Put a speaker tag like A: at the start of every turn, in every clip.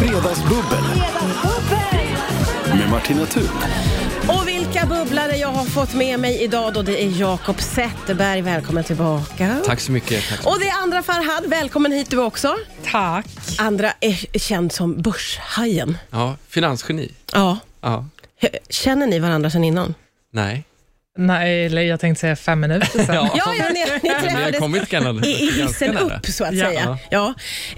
A: Fredagsbubbel med Martina Thun.
B: Och vilka bubblare jag har fått med mig idag då. Det är Jakob Zetterberg, välkommen tillbaka.
C: Tack så mycket. Tack.
B: Och det är andra Farhad, välkommen hit du också.
D: Tack.
B: Andra är känd som Börshajen.
C: Ja, finansgeni.
B: Ja.
C: Ja.
B: Känner ni varandra sedan innan?
C: Nej.
D: Nej, eller jag tänkte säga fem minuter sen.
C: Ja.
B: Ja, ja ni, ni
C: Men vi har
B: träffades
C: kommit ganska
B: i, i
C: ganska
B: hissen
C: nära.
B: upp så att
D: Ja.
B: säga. Ja.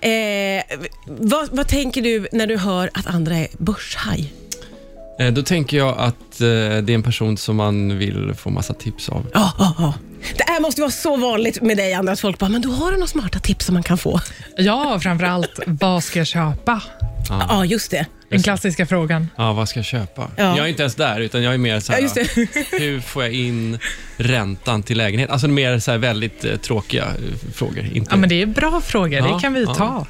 B: Eh, vad, vad tänker du när du hör att andra är börshaj?
C: Eh, Då tänker jag att eh, det är en person som man vill få massa tips av.
B: Ja, ja, ja. Det här måste ju vara så vanligt med dig andra, att folk bara, men då har du några smarta tips som man kan få.
D: Ja, framförallt, vad ska jag köpa?
B: Ja, just det.
D: Den klassiska frågan.
C: Ja, vad ska jag köpa?
B: Ja.
C: Jag är inte ens där, utan jag är mer så här,
B: Ja, just det.
C: hur får jag in räntan till lägenheten? Alltså mer så här väldigt eh, tråkiga eh, frågor. Inte...
D: Ja, men det är bra frågor,
C: Ja,
D: det kan vi
C: ja.
D: ta.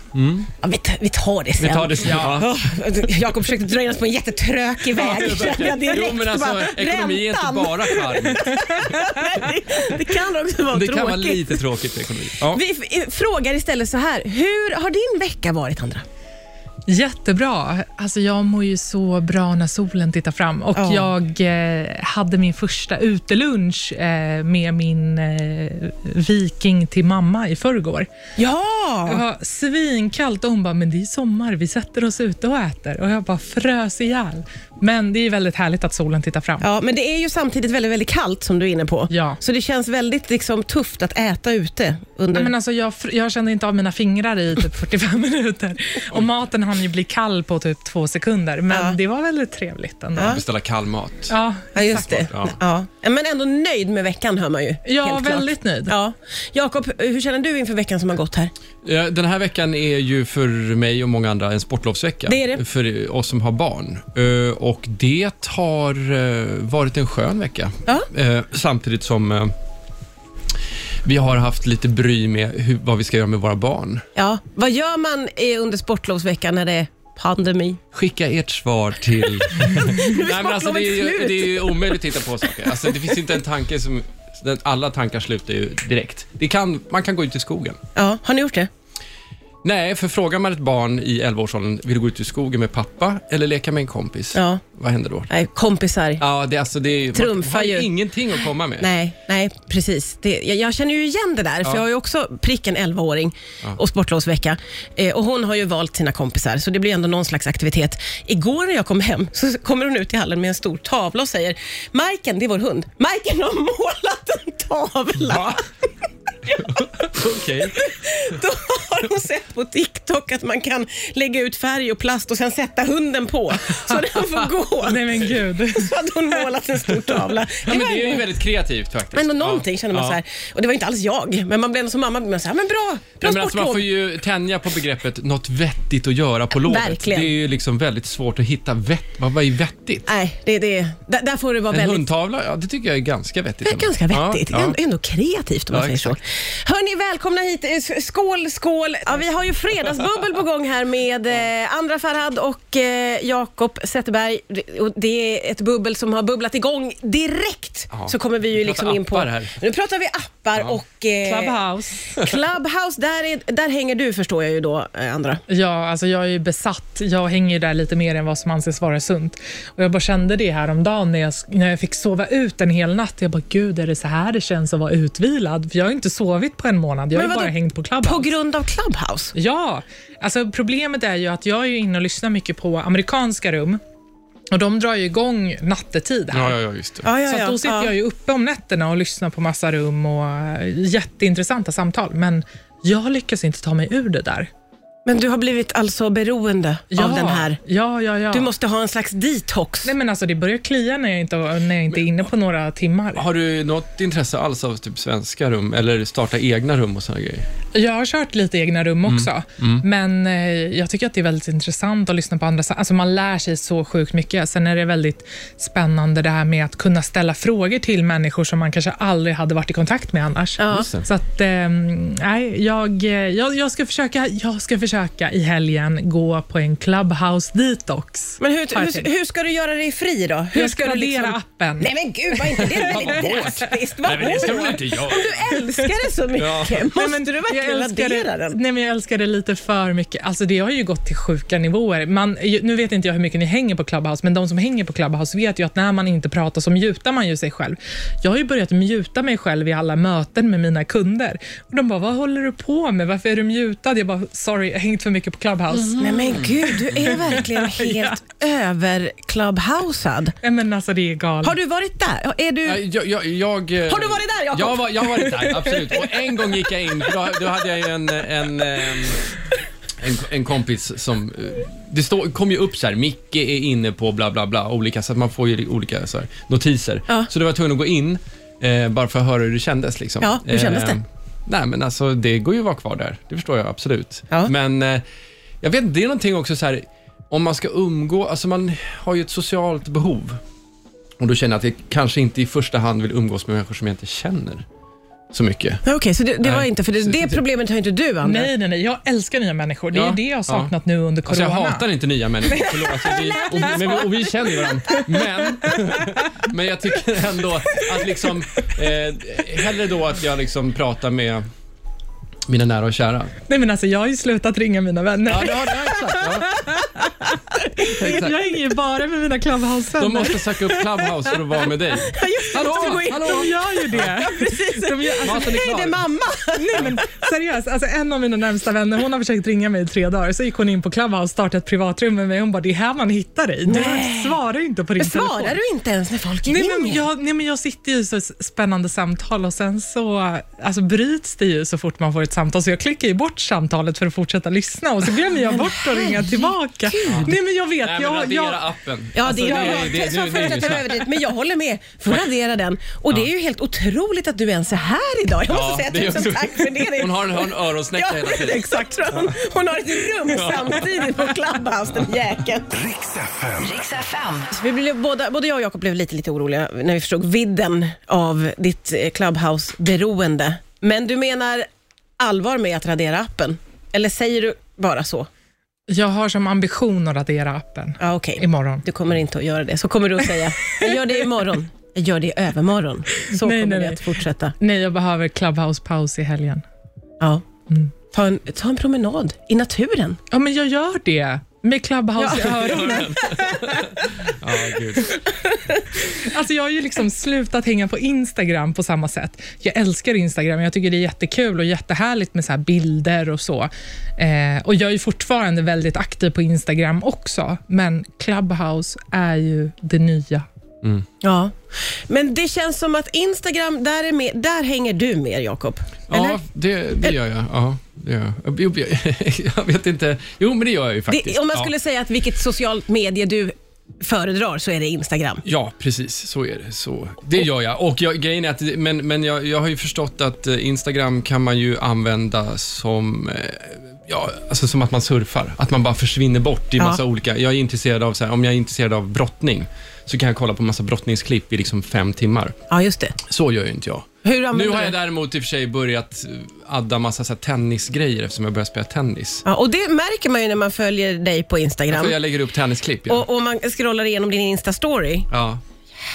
B: Ja, vi, t- vi tar det sen.
C: Vi tar det sen. Ja.
B: Åh, Jakob försökte dra in oss på en jättetrökig väg. kände jag direkt.
C: Jo, men alltså,
B: Bara,
C: ekonomi är inte
B: räntan.
C: bara charm.
B: Nej, det, det kan också vara
C: Det
B: tråkigt.
C: kan vara lite tråkigt, ekonomi. Ja.
B: Vi f- eh, frågar istället så här. Hur har din vecka varit, Andra?
D: Jättebra. Alltså, jag mår ju så bra när solen tittar fram. Och
B: Ja.
D: Jag eh, hade min första utelunch eh, med min eh, viking till mamma i förrgår.
B: Ja!
D: Det var svinkallt och hon bara, men det är sommar, vi sätter oss ute och äter. Och jag bara frös ihjäl. Men det är väldigt härligt att solen tittar fram.
B: Ja, men det är ju samtidigt väldigt, väldigt kallt som du är inne på.
D: Ja.
B: Så det känns väldigt liksom, tufft att äta ute. Under...
D: Nej, men alltså, jag, fr- jag kände inte av mina fingrar i typ 45 minuter. Och maten hann ju bli kall på typ två sekunder. Men
B: Ja.
D: det var väldigt trevligt ändå. Ja,
C: Beställa kall mat.
D: ja,
B: ja, just det.
D: exakt.
B: Ja. Men ändå nöjd med veckan hör man ju.
D: Ja,
B: helt klart.
D: väldigt nöjd.
B: Ja. Jakob, hur känner du inför veckan som har gått här?
C: Ja, Den här veckan är ju för mig och många andra en sportlovsvecka.
B: Det är det.
C: För oss som har barn. Eh, Och det har eh, varit en skön vecka.
B: Ja.
C: Eh, Samtidigt som eh, vi har haft lite bry med hur, vad vi ska göra med våra barn.
B: Ja. Vad gör man eh, under sportlovsveckan när det är pandemi?
C: Skicka ert svar till... Nej, men alltså, det,
B: sportlovet
C: är ju,
B: slut.
C: det är ju omöjligt att hitta på saker. Alltså, det finns inte en tanke som... Alla tankar slutar ju direkt. Det kan, man kan gå ut i skogen.
B: Ja, har ni gjort det?
C: Nej, för frågar man ett barn i 11-årsåldern, vill du gå ut i skogen med pappa eller leka med en kompis?
B: Ja.
C: Vad händer då?
B: Nej, kompisar.
C: Ja, det, alltså, det är,
B: Trumfar
C: man har
B: ju.
C: ingenting att komma med.
B: Nej, nej precis. Det, jag, jag känner ju igen det där, för
C: Ja.
B: jag har ju också pricken 11-åring och sportlovsvecka. Eh, och hon har ju valt sina kompisar, så det blir ändå någon slags aktivitet. Igår när jag kom hem så kommer hon ut i hallen med en stor tavla och säger Majken, det är vår hund, Majken har målat en tavla.
C: Va? Okej.
B: Då har hon sett på TikTok att man kan lägga ut färg och plast och sen sätta hunden på så den får gå.
D: Nej, men gud.
B: Så hade hon målat en stor tavla.
C: Ja, men
B: var
C: det är ju
B: ändå-
C: väldigt kreativt faktiskt.
B: Men ändå någonting
C: Ja.
B: känner man
C: Ja.
B: så här. Och det var inte alls jag, men man blev ändå som mamma. Man så här, men bra, bra
C: Ja, men alltså, man
B: sportlov.
C: får ju tänja på begreppet något vettigt att göra på lovet.
B: Verkligen.
C: Det är ju liksom väldigt svårt att hitta vett. Vad vad är vettigt?
B: Nej, det, det, där, där får det vara
C: En
B: väldigt...
C: hundtavla? Ja, det tycker jag är ganska vettigt.
B: Det är ganska
C: Ja,
B: vettigt.
C: ja.
B: Ändå, ändå kreativt om man
C: Ja,
B: säger så. Hörni, välkomna hit. Eh, s- Skål, skål. Ja, vi har ju fredagsbubbel på gång här med eh, Andra Farhad och eh, Jakob Zetterberg. Det- och Det är ett bubbel som har bubblat igång direkt.
C: Ja.
B: Så kommer vi ju
C: Vi
B: liksom
C: pratar
B: in på...
C: appar här.
B: Nu pratar vi appar och... eh,
D: Clubhouse.
B: Clubhouse, där, är, där hänger du förstår jag ju då, eh, Andra.
D: Ja, alltså jag är ju besatt. Jag hänger ju där lite mer än vad som anses vara sunt. Och Jag bara kände det här om dagen när jag, när jag fick sova ut en hel natt. Jag bara, gud, är det så här det känns att vara utvilad? För jag har ju inte sovit på en månad. Jag har
B: Men
D: ju bara
B: vadå?
D: hängt på Clubhouse.
B: På grund av Clubhouse?
D: Ja, alltså problemet är ju att jag är ju inne och lyssnar mycket på amerikanska rum och de drar ju igång nattetid här.
C: Ja, ja, ja, just det.
B: Ja, ja,
D: Så
B: ja.
D: att då sitter
B: ja.
D: jag ju uppe om nätterna och lyssnar på massa rum och eh, jätteintressanta samtal. Men jag lyckas inte ta mig ur det där.
B: Men du har blivit alltså beroende av den här.
D: Ja, ja, ja.
B: Du måste ha en slags detox.
D: Nej, men alltså, det börjar klia när jag inte, när jag inte är inne på några timmar.
C: Har du något intresse alls av typ svenska rum eller starta egna rum och såna grejer?
D: Jag har kört lite egna rum
C: Mm.
D: också, men eh, jag tycker att det är väldigt intressant att lyssna på andra. sa- Alltså man lär sig så sjukt mycket. Sen är det väldigt spännande det här med att kunna ställa frågor till människor som man kanske aldrig hade varit i kontakt med annars.
B: Ja.
C: Just det.
D: Så att, eh, nej, jag, eh, jag, jag, ska försöka, jag ska försöka i helgen gå på en clubhouse detox.
B: Men hur,
D: Har jag
B: hur,
D: tänkt.
B: hur ska du göra dig fri då? Hur liksom
D: jag ska radera appen.
B: Nej men gud, var inte det väldigt drastiskt? Vad hårt?
C: inte jag.
B: Du älskar det så mycket. Måste du
D: jag,
B: vill
D: älskar
B: radera
D: det,
B: den.
D: nej, men jag älskar det lite för mycket. Alltså, det har ju gått till sjuka nivåer. Man, ju- nu vet inte jag hur mycket ni hänger på Clubhouse, men de som hänger på Clubhouse vet ju att när man inte pratar så mutar man ju sig själv. Jag har ju börjat muta mig själv i alla möten med mina kunder. Och de bara, vad håller du på med? Varför är du mutad? Jag bara, sorry, jag har hängt för mycket på Clubhouse.
C: Mm.
B: Nej men gud, du
D: Mm.
B: är verkligen helt överclubhousead.
D: Nej, men alltså, det är galet.
B: Har du varit där? Är
C: Ja,
B: du...
C: Jag, jag, jag, eh,
B: Har du varit där, Jakob?
C: Jag, var, jag har varit där, absolut. Och en gång gick jag in, för då, då hade jag ju en, en, eh, en, en kompis som... eh, Det stå, kom ju upp så här, Micke är inne på bla bla bla, olika, så att man får ju olika så här, notiser.
B: Ja.
C: Så då var jag tvungen att gå in, eh, bara för att höra hur det kändes. Liksom.
B: Ja, hur kändes det?
C: Nej, men alltså det går ju att vara kvar där. Det förstår jag absolut.
B: Ja.
C: Men eh, jag vet inte, det är någonting också så här, om man ska umgå, alltså man har ju ett socialt behov. Och då känner jag att jag kanske inte i första hand vill umgås med människor som jag inte känner så mycket.
B: Okej, så det, det var
C: Nej.
B: inte, för det, det
C: Precis.
B: problemet har ju inte du, Anders.
D: Nej, nej, nej. Jag älskar nya människor. Det är
C: Ja,
D: det jag har
C: ja.
D: saknat nu under
C: Alltså
D: corona.
C: jag hatar inte nya människor, förlåt. Alltså, vi, och, men vi, och vi känner varandra. Men, men jag tycker ändå att liksom, eh, hellre då att jag liksom pratar med mina nära och kära.
D: Nej, men alltså, jag har ju slutat ringa mina vänner.
C: Ja, det har ja, exakt. Ja. exakt.
D: Jag hänger ju bara med mina
C: De
D: Clubhouse-vänner.
C: måste söka upp Clubhouse för att vara med dig. Hallå,
B: måste gå in.
C: hallå!
D: De gör ju det.
B: Precis.
D: De gör, alltså,
C: Maten är
B: Hej, det är
C: klar.
B: mamma!
D: nej, men seriöst, alltså, en av mina närmsta vänner hon har försökt ringa mig i tre dagar. Så gick hon in på Clubhouse startade ett privatrum med mig. Hon bara, det är här man hittar dig. Du svarar ju inte på din telefon.
B: Svarar du inte ens när folk
D: Nej
B: ringer?
D: men, jag, nej, men jag sitter ju i så spännande samtal och sen så alltså, bryts det ju så fort man får ett samtal, så jag klickar ju bort samtalet för att fortsätta lyssna och så glömmer jag bort att ringa tillbaka. Nej, men jag vet.
C: Nej, men
D: jag,
C: radera
D: jag,
C: appen.
B: Ja,
C: Alltså,
B: det är
C: det- det-
B: jag. Så
C: det- det är
B: först
C: ju
B: att jag var
C: snack.
B: över dit, men jag håller med. Får radera den. Och det är ju helt otroligt att du ens är här idag. Jag måste
C: Ja, det
B: säga
C: är
B: tusen
C: också-
B: tack för det. det.
C: Hon har en, har en öronsnäcka hela
B: Ja,
C: tiden.
B: exakt. Hon, hon har ett rum samtidigt på Clubhouse, den jäkeln.
A: Riks FM.
E: Riks FM.
B: Så Vi blev båda, både jag och Jakob blev lite, lite oroliga när vi förstod vidden av ditt eh, Clubhouse-beroende. Men du menar allvar med att radera appen? Eller säger du bara så?
D: jag har som ambition att radera appen
B: Ja, okej.
D: imorgon.
B: Du kommer inte att göra det. Så kommer du att säga, jag gör det imorgon. Jag gör det i övermorgon. Så
D: Nej,
B: kommer
D: nej,
B: det
D: nej.
B: att fortsätta.
D: Nej, jag behöver Clubhouse-paus i helgen.
B: Ja. Ta, en, ta en promenad i naturen.
D: Ja, men jag gör det. Med Clubhouse i öronen.
C: Ja, gud.
D: Alltså jag har ju liksom slutat hänga på Instagram på samma sätt. Jag älskar Instagram. Jag tycker det är jättekul och jättehärligt med så här bilder och så. Eh, och jag är ju fortfarande väldigt aktiv på Instagram också, men Clubhouse är ju det nya.
B: Ja. Men det känns som att Instagram, där, är med, där hänger du med Jakob.
C: Ja, det, det gör jag. Ja, det gör jag. Jo, jag- jag vet inte. Jo, men det gör jag ju faktiskt.
B: Det, om man
C: Ja.
B: skulle säga att vilket socialt medie du föredrar så är det Instagram.
C: Ja, precis. Så är det. Så, det gör jag. Och jag, grejen är att, men, men jag, jag har ju förstått att eh, Instagram kan man ju använda som, eh, ja, alltså som att man surfar. Att man bara försvinner bort i massa
B: Ja.
C: olika... Jag är intresserad av, så här, om jag är intresserad av brottning, så kan jag kolla på massa brottningsklipp i liksom fem timmar.
B: Ja, just det.
C: Så gör ju inte jag.
B: Hur
C: Nu
B: använder
C: har jag
B: du?
C: däremot i och för sig börjat eh, adda massa så här, tennisgrejer eftersom jag börjar spela tennis.
B: Ja, och det märker man ju när man följer dig på Instagram.
C: För jag lägger upp tennisklipp. Ja.
B: Och, och man scrollar igenom din Insta-story.
C: ja.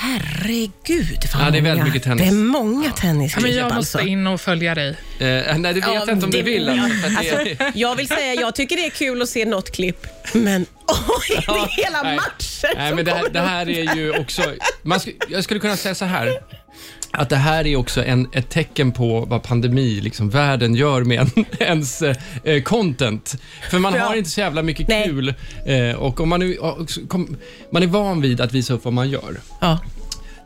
C: Eh,
B: Herregud vad
C: Ja, det är väldigt
B: många,
C: mycket tennis.
B: Det är många
D: Ja, men
B: tennisklipp
D: jag
B: alltså.
D: måste in och följa dig.
C: Eh, nej, det vet
B: Ja,
C: jag inte om
B: det-
C: du vill. Alltså, för att det,
B: Jag vill säga, jag tycker det är kul att se något klipp, men oj, det är hela
C: Nej.
B: matcher
C: Nej,
B: som
C: men det här,
B: kommer
C: det här
B: upp.
C: är ju också... Man sk, jag skulle kunna säga så här. Att det här är också en, ett tecken på vad pandemi, liksom världen gör med en, ens eh, content. För man
B: Ja.
C: har inte så jävla mycket
B: Nej.
C: kul. Eh, och om man, nu- och så kom, man är van vid att visa upp vad man gör.
B: Ja.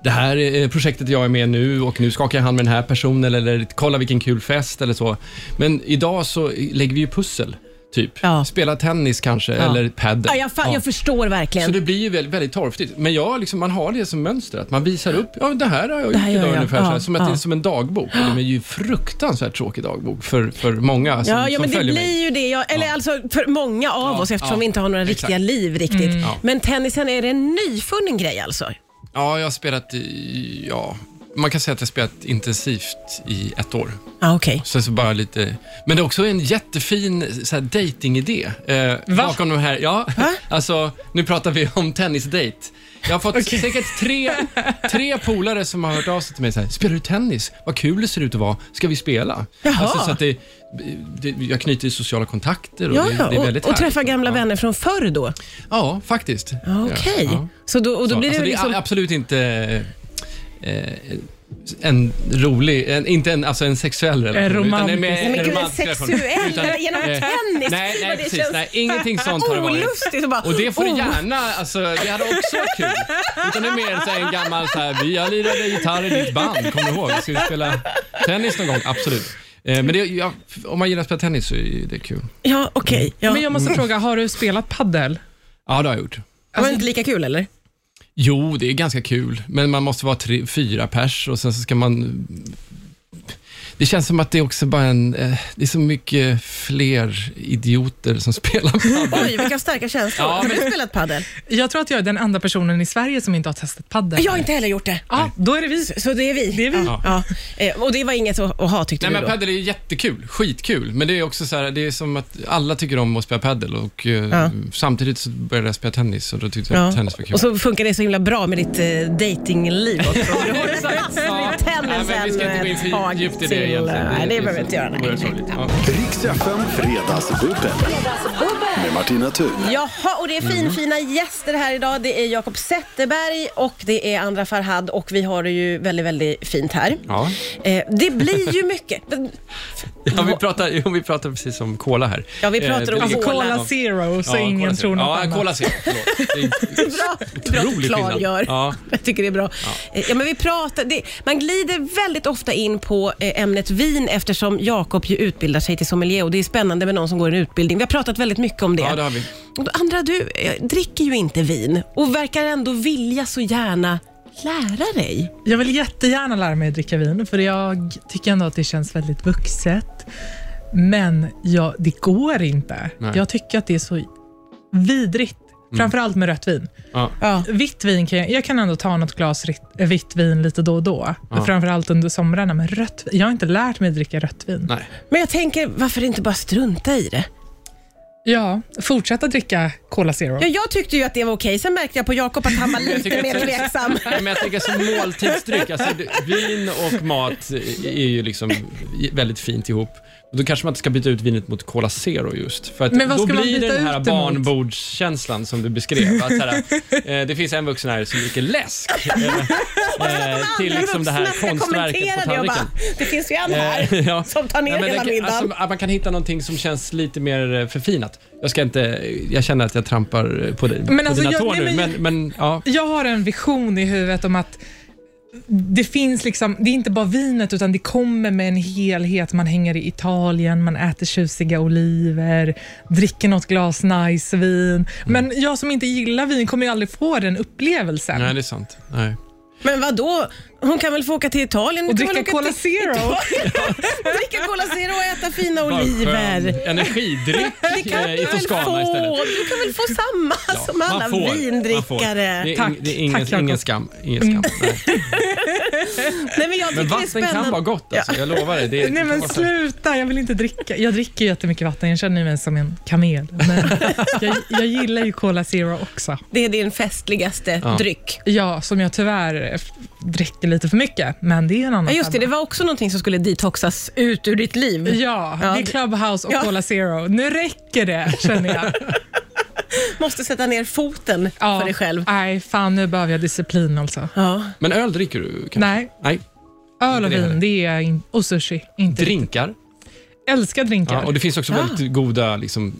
C: Det här eh, projektet jag är med nu och nu skakar jag hand med den här personen eller kolla vilken kul fest eller så. Men idag så lägger vi ju pussel, typ.
B: Ja.
C: Spela tennis kanske eller padel.
B: Ja, jag, fa-
C: Ja.
B: jag förstår verkligen.
C: Så det blir ju väldigt, väldigt torftigt. Men jag, liksom, man har det som mönster, att man visar upp, ja det här har
B: här
C: jag gjort
B: gör
C: idag
B: jag.
C: ungefär, så
B: Ja,
C: här, som, att
B: ja.
C: det är som en dagbok. Och det är ju fruktansvärt tråkig dagbok för, för många som,
B: Ja, ja
C: som
B: men det
C: följer
B: blir
C: mig.
B: ju det. Jag, eller
C: Ja.
B: alltså för många av
C: Ja,
B: oss eftersom
C: ja,
B: vi inte har några
C: exakt. Mm.
B: riktiga liv riktigt.
C: Ja.
B: Men tennisen är det en nyfunnen grej alltså?
C: Ja, jag har spelat i, ja, man kan säga att jag spelat intensivt i ett år.
B: Ja, okej.
C: Sen så bara lite, men det är också en jättefin så här, dating-idé. Eh, bakom de här, ja, alltså, nu pratar vi om tennisdate. Jag har fått säkert tre, tre polare som har hört av sig till mig så här, spelar du tennis? Vad kul det ser ut att vara, ska vi spela?
B: Jaha.
C: Alltså, så att det, det, jag knyter sociala kontakter och
B: Ja,
C: det,
B: ja,
C: det är väldigt
B: och, och träffa
C: härligt.
B: gamla
C: ja.
B: vänner från förr då?
C: Ja, faktiskt.
B: Ja, Okej.
C: Ja, ja.
B: Så då, och då
C: Så,
B: blir det
C: alltså,
B: väl
C: det
B: liksom...
C: är absolut inte eh, en rolig, en, inte en, alltså en sexuell relation.
D: romantisk.
C: mer
B: Nej, men gud, en
C: romantisk relation.
B: sexuell
C: Utan,
B: genom
C: eh,
B: tennis.
C: Nej,
B: Vad
C: nej
B: det
C: precis.
B: känns
C: Nej, ingenting sånt har det varit.
B: Olustigt och bara...
C: Och det får du
B: oh.
C: gärna, alltså, det hade också varit kul. Utan det är mer så här en gammal så här, vi jag lirade gitarr i ditt band, kommer du ihåg? Ska vi spela tennis någon gång? Absolut. Eh, Men det, ja, om man gillar att spela tennis så är det kul.
B: Ja, okej. Ja.
D: Men jag måste fråga, har du spelat paddel?
C: Ja, det har jag gjort.
B: Var det inte lika kul eller?
C: Jo, det är ganska kul, men man måste vara tre, fyra pers och sen så ska man... Det känns som att det är också bara en... eh, Det är så mycket fler idioter som spelar padel.
B: Oj, vilka starka känslor.
C: Ja,
B: Har du
C: men-
B: spelat padel?
D: Jag tror att jag är den enda personen i Sverige som inte har testat paddel.
B: Jag har inte heller gjort det.
D: Ja, då är det vi.
B: Så det är vi.
D: Det är vi.
B: Ja. Ja. Eh, Och det var inget att att ha tyckte
C: Nej, men
B: du då?
C: padel är ju jättekul, skitkul, men det är också så här, det är som att alla tycker om att spela padel och eh, samtidigt så började jag spela tennis och då tyckte jag att
B: Ja.
C: tennis var kul.
B: Och så funkar det så himla bra med ditt eh, datingliv också. Du har ju
C: Ja,
B: sett tennisen
C: nej, men vi ska inte gå in
B: ett
C: för
B: tag
C: djupt i
B: till.
C: det egentligen.
B: Nej, det
C: är
B: behöver vi inte göra. nej.
C: oerhört sorgligt. Ja.
A: Riks FM Fredagsbubbel med Martina Thun.
B: Jaha, och det är
C: Mm.
B: finfina gäster här idag. Det är Jakob Zetterberg och det är Andra Farhad och vi har det ju väldigt, väldigt fint här.
C: Ja.
B: Eh, det blir ju mycket.
C: Ja, vi, pratar, jo, vi pratar precis om cola här. Eh,
B: Ja, vi pratar
C: det
B: om
C: ligger-
D: Alltså
B: Cola.
D: Cola Zero, så ingen
C: Cola
D: tror
C: Zero.
D: något
C: ja,
D: annat.
C: Cola Zero, förlåt. Det är-
B: Bra, det är bra att du
C: Otrolig skillnad.
B: klargör.
C: Ja.
B: Jag tycker det är bra. Ja. Ja, men vi pratar, det, man glider väldigt ofta in på eh, ämnet vin eftersom Jakob ju utbildar sig till sommelier och det är spännande med någon som går en utbildning. Vi har pratat väldigt mycket om det.
C: Ja, det har vi.
B: Och Andra, du eh, dricker ju inte vin och verkar ändå vilja så gärna lära dig.
D: Jag vill jättegärna lära mig att dricka vin, för jag tycker ändå att det känns väldigt vuxet. Men jag, det går inte.
C: Nej. Mm.
D: Jag tycker att det är så vidrigt. Framförallt med rött vin.
C: Ja.
B: Ja.
D: Vitt vin kan jag, jag kan ändå ta något glas ritt, vitt vin lite då och då. Framförallt under somrarna. Men rött, vin- jag har inte lärt mig att dricka rött vin.
C: Nej.
B: Men jag tänker, varför inte bara strunta i det?
D: Ja, fortsätta dricka Cola Zero.
B: Ja, jag tyckte ju att det var okej, sen märkte jag på Jakob att han var lite
C: tycker
B: mer
C: att-
B: tveksam.
C: Ja, Men jag tänker som måltidsdryck, alltså, det- vin och mat är ju liksom väldigt fint ihop. Och då kanske man inte ska byta ut vinet mot Cola Zero just. För att
D: Men vad
C: då
D: ska man
C: blir det
D: byta
C: den här
D: ut det mot?
C: barnbordskänslan som du beskrev. Att så här, eh, det finns en vuxen här som dricker läsk eh, eh, till liksom det här
B: Vuxna ska
C: konstverket på
B: kommentera det och
C: tallriken.
B: bara, det finns ju en här
C: Eh, ja.
B: som tar ner
C: Ja, men
B: hela
C: det-
B: middagen.
C: Alltså, att man kan hitta någonting som känns lite mer eh, förfinat. Jag, ska inte, jag känner att jag trampar eh, på, dig, på
D: alltså,
C: dina
D: jag-
C: tår
D: nej,
C: nu,
D: men-
C: men, men ja.
D: Jag har en vision i huvudet om att det finns liksom, det är inte bara vinet utan det kommer med en helhet. Man hänger i Italien, man äter tjusiga oliver, dricker något glas nice
B: Mm.
D: vin. Men jag som inte gillar vin kommer ju aldrig få den upplevelsen.
C: Nej, det är sant. Nej.
B: Men vad då? Hon kan väl få åka till Italien? Du
D: Och
B: kan väl
D: dricka
B: åka
D: Cola
B: till
D: Zero.
B: Italien? dricka Cola Zero och äta fina
C: Bara
B: oliver.
C: skön Energidryck
B: Det kan
C: eh,
B: du
C: i
B: väl
C: Toscana istället.
B: få? Du kan väl få samma
C: Ja,
B: som alla
C: man får, man får. Det
B: vindrickare?
C: är,
D: Tack,
C: ing- det är ingen,
D: tack, Jakob.
C: ingen skam. Ingen skam. Nej.
B: Nej, men jag tycker
C: Men
B: det är
C: vatten
B: spännande.
C: kan vara gott, alltså. jag lovar dig. Det, det
D: Nej
C: kan
D: men
C: vara-
D: sluta, jag vill inte dricka. Jag dricker ju jättemycket vatten, jag känner mig som en kamel. Men jag, jag gillar ju Cola Zero också.
B: Det är din festligaste
C: Ja.
B: dryck.
D: Ja, som jag tyvärr eh, dricker lite för mycket, men det är en annan
B: Ja, just det,
D: femma.
B: det var också någonting som skulle detoxas ut ur ditt liv.
C: Mm.
D: Ja,
B: Ja,
D: det är
B: det-
D: Clubhouse och
B: Ja.
D: Cola Zero. Nu räcker det, känner jag.
B: Måste sätta ner foten
D: Ja.
B: för dig själv.
D: Nej, fan nu behöver jag disciplin alltså.
B: Ja.
C: Men öl dricker du kanske?
D: Nej,
C: Nej.
D: öl och
C: Inte det heller.
D: vin det är in- och sushi. Inte riktigt.
C: Drinkar.
D: Älskar drinkar.
C: Ja, och det finns också
B: Ja.
C: väldigt goda, liksom,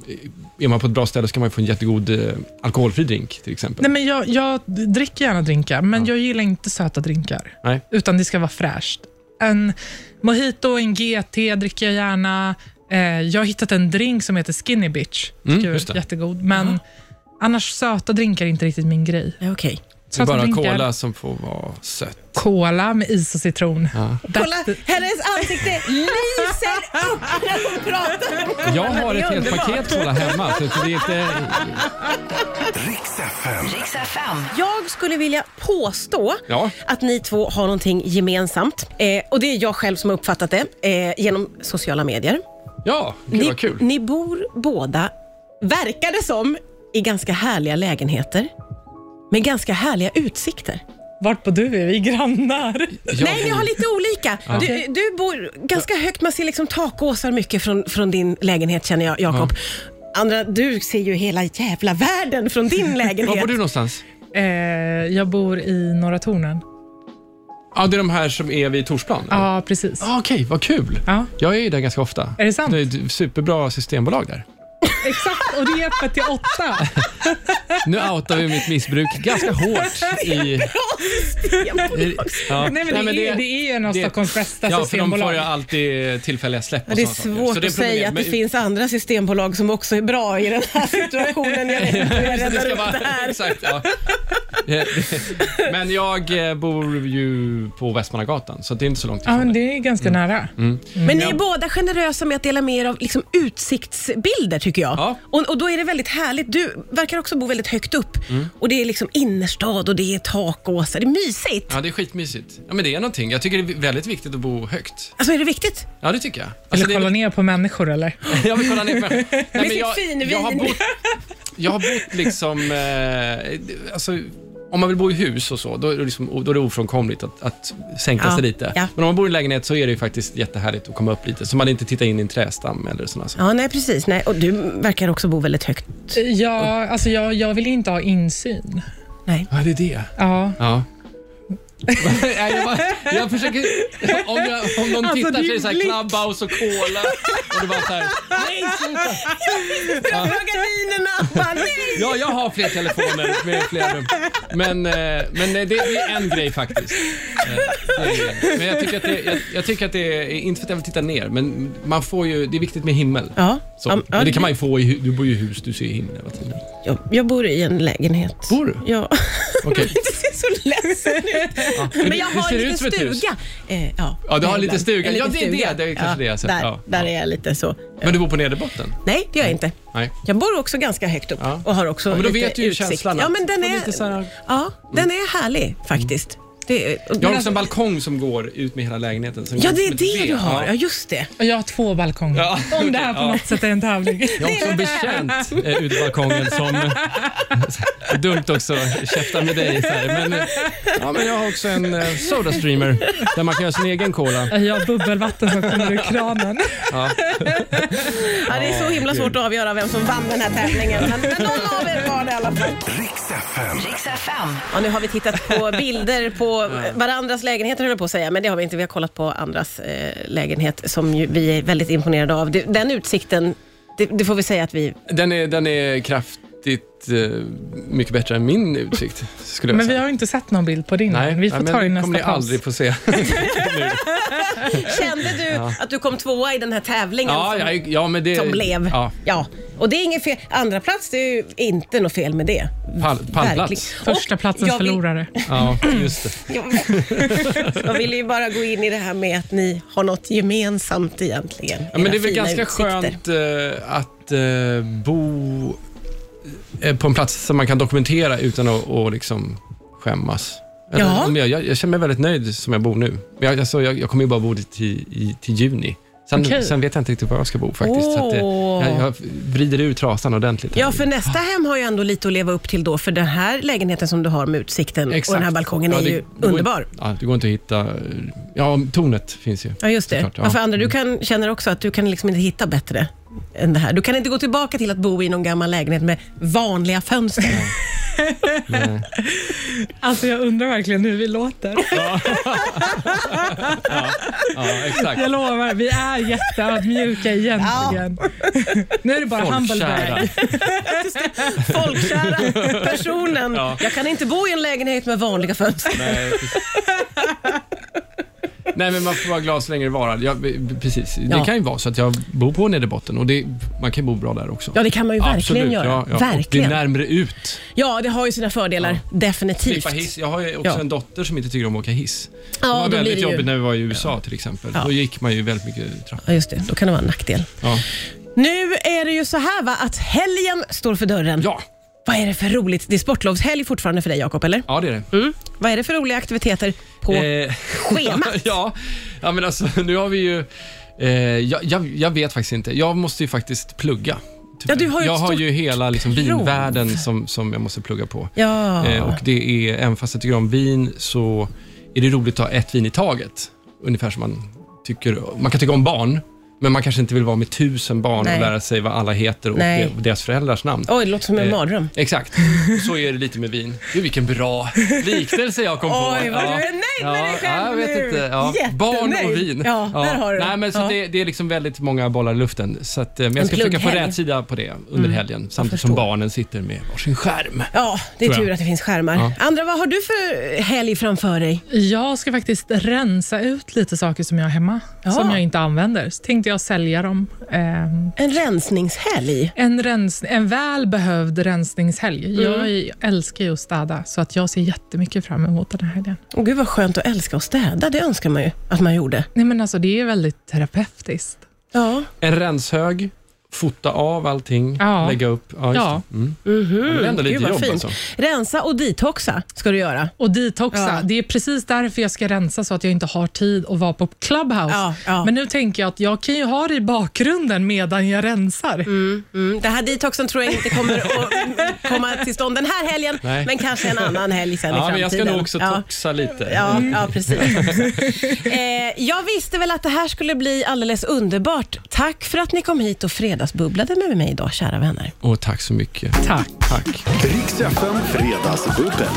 C: är man på ett bra ställe så kan man få en jättegod eh, alkoholfri drink till exempel.
D: Nej, men jag, jag dricker gärna drinkar, men jag gillar inte söta drinkar.
C: Nej.
D: Utan det ska vara fräscht. En mojito, en GT dricker jag gärna. Eh, jag har hittat en drink som heter Skinny Bitch.
C: Mm,
D: Tycker jag
C: just det.
D: är jättegod. Men annars söta drinkar är inte riktigt min grej.
B: Ja, Okej.
C: det är
D: Söta
C: bara
D: drinkar,
C: cola som får vara sött.
D: Cola med is och citron.
C: Ja.
D: That's
B: Kolla,
D: the-
B: hennes ansikte lyser upp när hon pratar.
C: Jag har
B: Det är
C: ett helt
B: underbart.
C: paket cola hemma, så det är inte...
E: Riks FM.
F: Riks FM.
B: Jag skulle vilja påstå
C: Ja.
B: att ni två har någonting gemensamt. Eh, och det är jag själv som har uppfattat det eh, genom sociala medier.
C: Ja, gud
B: ni,
C: vad kul.
B: ni bor båda, verkar det som, i ganska härliga lägenheter. Med ganska härliga utsikter.
D: Vart på du? Är vi grannar?
C: Jag
B: Nej, ni
C: bor-
B: har lite olika. Du, du bor ganska högt, man ser liksom takåsar mycket från, från din lägenhet känner jag, Jakob. Andra, du ser ju hela jävla världen från din
C: Var
B: lägenhet.
C: bor du någonstans?
D: Eh, jag bor i Norra Tornen.
C: Ja, det är de här som är vid Torsplan? eller?
D: Ja, precis.
C: Ah, Okej, vad kul.
D: Ja.
C: Jag är ju där ganska ofta.
D: Är det sant?
C: Det är ett superbra systembolag där.
D: Exakt, och det är öppet till åtta.
C: Nu outar vi mitt missbruk ganska hårt i... i- Ja.
D: Nej, men det, är, det är ju en av
C: det-
D: Stockholms bästa
C: Ja, för de
D: systembolag.
C: får ju alltid tillfälliga släpp
B: Ja,
C: och
B: det är
C: såna saker.
B: svårt
C: Så det är
B: att säga
C: problem,
B: att det
C: men-
B: finns andra systembolag som också är bra i den här situationen. Jag vet inte hur jag
C: Så det
B: räddar
C: ska
B: upp det
C: vara,
B: här.
C: exakt, ja. Men jag eh, bor ju på Västmannagatan, så det är inte så långt
D: Ja,
C: ifrån.
D: men det är ganska
C: Mm.
D: nära.
B: Men ni är båda generösa med att dela med er av liksom utsiktsbilder tycker jag.
C: Ja.
B: Och, och då är det väldigt härligt. Du verkar också bo väldigt högt upp.
C: Mm.
B: Och det är liksom innerstad och det är takåsar. Det är mysigt.
C: Ja, det är skitmysigt. Ja, men det är någonting. Jag tycker det är väldigt viktigt att bo högt.
B: Alltså är det viktigt?
C: Ja, det tycker jag. Alltså,
D: Eller
C: det är-
D: kolla ner på människor eller?
C: Jag vill kolla ner på mig själv. Nej,
B: sitt
C: jag,
B: finvin.
C: jag har bott, jag har bott liksom, eh, alltså, om man vill bo i hus och så, då är det, liksom, då är det ofrånkomligt att, att sänka
B: Ja,
C: sig lite.
B: ja.
C: Men om man bor i en lägenhet så är det ju faktiskt jättehärligt att komma upp lite, så man inte tittar in i en trästam eller sådana saker.
B: Ja, nej precis. Nej. Och du verkar också bo väldigt högt.
D: Ja, alltså jag, jag vill inte ha insyn.
B: Nej.
C: Ja, det är det.
D: Ja.
C: Ja. Nej, jag, bara, jag försöker... Om, jag, om någon
B: Alltså,
C: tittar så
B: din
C: är det så här
B: blick.
C: Clubhouse och Cola. Och det bara så här,
B: Magasinerna! Bara, nej!
C: ja, jag har fler telefoner med fler rum. Men, eh, men det, det är en grej faktiskt. Eh, det är det. Men jag tycker, att det, jag, jag tycker att det är, inte för att jag vill titta ner, men man får ju, det är viktigt med himmel.
B: Ja,
C: Så.
B: ja,
C: men det kan man ju få i, hu- du bor ju i hus, du ser ju himlen hela tiden.
B: jag, jag bor i en lägenhet.
C: Bor du?
B: Ja.
C: Okej.
B: Du ser så ledsen ut. Men jag
C: det
B: har
C: ser
B: lite
C: ut som ett hus.
B: stuga. Eh, ja,
C: Ja, du har
B: ibland.
C: lite stuga.
B: En liten
C: Ja, det är det. Det är kanske det jag har sett.
B: Där,
C: Ja.
B: där är jag lite så.
C: Men du bor på nederbotten?
B: Nej, det gör jag inte.
C: Nej.
B: Jag bor också ganska högt upp
C: Ja.
B: och har också
C: Ja, men då
B: lite
C: vet du ju
B: utsikt.
C: känslan
B: Ja,
C: att-
B: men den
C: och
B: är,
C: lite så här- Mm.
B: ja, den är härlig faktiskt. Det är, och-
C: Jag har
B: men
C: också en
B: alltså-
C: balkong som går ut med hela lägenheten. som
B: Ja,
C: går
B: det är
C: som ett
B: det
C: V.
B: du har.
C: Ja.
B: Ja, just det.
D: Och jag har två balkonger.
C: Ja,
D: Om det
C: okej,
D: här på
C: ja.
D: något sätt är en tävling.
C: Jag har också en bekänt eh, ute på balkongen som... eh, dumt också att käfta med dig. Så här. Men, eh, ja, men jag har också en eh, soda streamer där man kan göra sin egen cola.
D: Jag har bubbelvatten som kommer ur kranen.
B: Ja, det är så himla svårt att avgöra vem som vann den här tävlingen. Men, men någon av er var det i alla fall.
E: Riks FM.
F: Riks FM.
B: Ja, nu har vi tittat på bilder på varandras lägenheter, höll jag på att säga. Men det har vi inte. Vi har kollat på andras eh, lägenhet som ju, vi är väldigt imponerade av. Det, den utsikten, det, det får vi säga att vi...
C: Den är, den är kraftigt eh, mycket bättre än min utsikt, skulle jag
D: Men vi
C: säga.
D: har ju inte sett någon bild på din. än. vi får
C: men
D: ta det i nästa
C: kommer ni
D: paus.
C: aldrig få se.
B: Kände du att du kom tvåa i den här tävlingen
C: ja,
B: som,
C: ja, ja, men det,
B: som blev?
C: Ja,
B: Ja. Och det är inget fel. Andra plats, det är ju inte något fel med det.
C: pall,
B: Verkligen.
C: pallplats.
D: Första
B: Och
D: platsens
B: jag vill-
D: förlorare.
C: Ja, just det.
B: Jag ville ju bara gå in i det här med att ni har något gemensamt egentligen.
C: Ja, men
B: Era
C: det är väl
B: fina
C: ganska
B: utsikter.
C: skönt eh, att eh, bo eh, på en plats som man kan dokumentera utan att och liksom skämmas. Jag,
B: Ja.
C: vet inte om jag, jag, jag känner mig väldigt nöjd som jag bor nu. Men jag, alltså, jag, jag kommer ju bara bo dit till, i, till juni. Sen,
D: Okej.
C: sen vet jag inte riktigt var jag ska bo faktiskt. Så att, eh,
B: Åh.
C: jag, jag vrider ur trasan ordentligt. här.
B: Ja, för
C: Ah.
B: nästa hem har ju ändå lite att leva upp till då, för den här lägenheten som du har med utsikten
C: Exakt.
B: och den här balkongen
C: Ja,
B: är
C: det
B: ju
C: går-
B: underbar.
C: Ja, det går inte att hitta... eh, Ja, tornet finns ju.
B: Ja, just det.
C: Såklart, ja. Mm.
B: ja. För Andra, du kan, känner också att du kan liksom inte hitta bättre än det här. Du kan inte gå tillbaka till att bo i någon gammal lägenhet med vanliga fönster.
D: Alltså jag undrar verkligen hur vi låter.
C: Ja, exakt.
D: Jag lovar, vi är jätteödmjuka egentligen. Nu är det bara
C: Folkkära.
D: humbleberg.
B: Folkkära personen.
C: Ja.
B: Jag kan inte bo i en lägenhet med vanliga fönster.
C: Nej, precis. Eh, Nej, men man får vara glad så länge det varar. Ja, precis. Det
B: Ja.
C: kan ju vara så att jag bor på nederbotten och det, man kan ju bo bra där också.
B: Ja, det kan man ju verkligen
C: Absolut,
B: göra.
C: Ja, ja. Och Det är
B: Verkligen.
C: närmare ut.
B: ja, det har ju sina fördelar. Definitivt.
C: Slippa hiss. Jag har ju också
B: Ja.
C: en dotter som inte tycker om att åka hiss.
B: Ja,
C: det var
B: då blir
C: väldigt
B: det ju-
C: jobbigt när vi var i USA till exempel.
B: Ja.
C: Då gick man ju väldigt mycket trappor.
B: Ja, just det. Då kan det vara en nackdel.
C: Ja.
B: Nu är det ju så här va, att helgen står för dörren.
C: ja,
B: Vad är det för roligt? Det är sportlovshelg fortfarande för dig, Jakob, eller?
C: Ja, det är det.
B: Mm. Vad är det för roliga aktiviteter på
C: Eh,
B: schemat?
C: ja, ja, men alltså nu har vi ju... Eh, jag, jag, jag vet faktiskt inte. Jag måste ju faktiskt plugga. tyvärr.
B: du har ju
C: jag
B: ett
C: har
B: stort
C: ju hela liksom,
B: prov.
C: vinvärlden som, som jag måste plugga på.
B: Ja.
C: Eh, och det är, även fast jag tycker om vin så är det roligt att ha ett vin i taget. Ungefär som man tycker, man kan tycka om barn, men man kanske inte vill vara med tusen barn
B: Nej.
C: och lära sig vad alla heter och
B: Nej.
C: de- deras föräldrars namn.
B: Oj, det låter som en
C: Eh,
B: mardröm.
C: Exakt, så är det lite med vin. Gud, vilken bra liknelse jag kom på.
B: Oj, vad du är nöjd med dig själv
C: ja, jag vet
B: nu.
C: Inte. Ja.
B: Jättenöjd.
C: Barn och vin.
B: Ja, där har du det.
C: Nej, men så
B: Ja.
C: det, det är liksom väldigt många bollar i luften. Så att, eh, men
B: En
C: jag ska försöka få
B: plugghelg. Mm.
C: rätt sida på det under helgen, samtidigt som
B: förstår.
C: barnen sitter med varsin skärm.
B: Ja, det är
C: tror jag.
B: tur att det finns skärmar. Andra, vad har du för helg framför dig?
D: Jag ska faktiskt rensa ut lite saker som jag har hemma,
B: Ja.
D: som jag inte använder. Så tänkte jag sälja dem. Ehm,
B: En rensningshelg?
D: en, rens, en välbehövd rensningshelg.
B: Mm.
D: Jag älskar ju att städa, så att jag ser jättemycket fram emot den här helgen.
B: Åh, Gud vad skönt att älska och städa, det önskar man ju att man gjorde.
D: Nej, men alltså, det är väldigt terapeutiskt.
B: Ja,
C: En renshög, fota av allting,
D: Ja.
C: lägga upp. Ja, just
D: Ja.
C: Det. Mm. Men det är ändå lite
B: Gud, vad
C: jobb
B: fint.
C: alltså.
B: Rensa och detoxa ska du göra.
D: Och detoxa.
B: Ja.
D: Det är precis därför jag ska rensa så att jag inte har tid att vara på Clubhouse.
B: Ja, ja.
D: Men nu tänker jag att jag kan ju ha det i bakgrunden medan jag rensar.
B: Mm, det här detoxen tror jag inte kommer att komma till stånd den här helgen,
C: Nej.
B: men kanske en annan helg sen i
C: Ja,
B: framtiden.
C: men jag ska nog också Mm.
B: Ja.
C: toxa lite.
B: Ja, ja precis. eh, jag visste väl att det här skulle bli alldeles underbart. Tack för att ni kom hit och fredagsbubblade med mig idag, kära vänner.
C: Och tack så mycket.
D: Tack.
C: Tack.
E: Riks FM
A: Fredagsbubbel.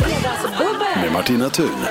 A: Med Martina Thun.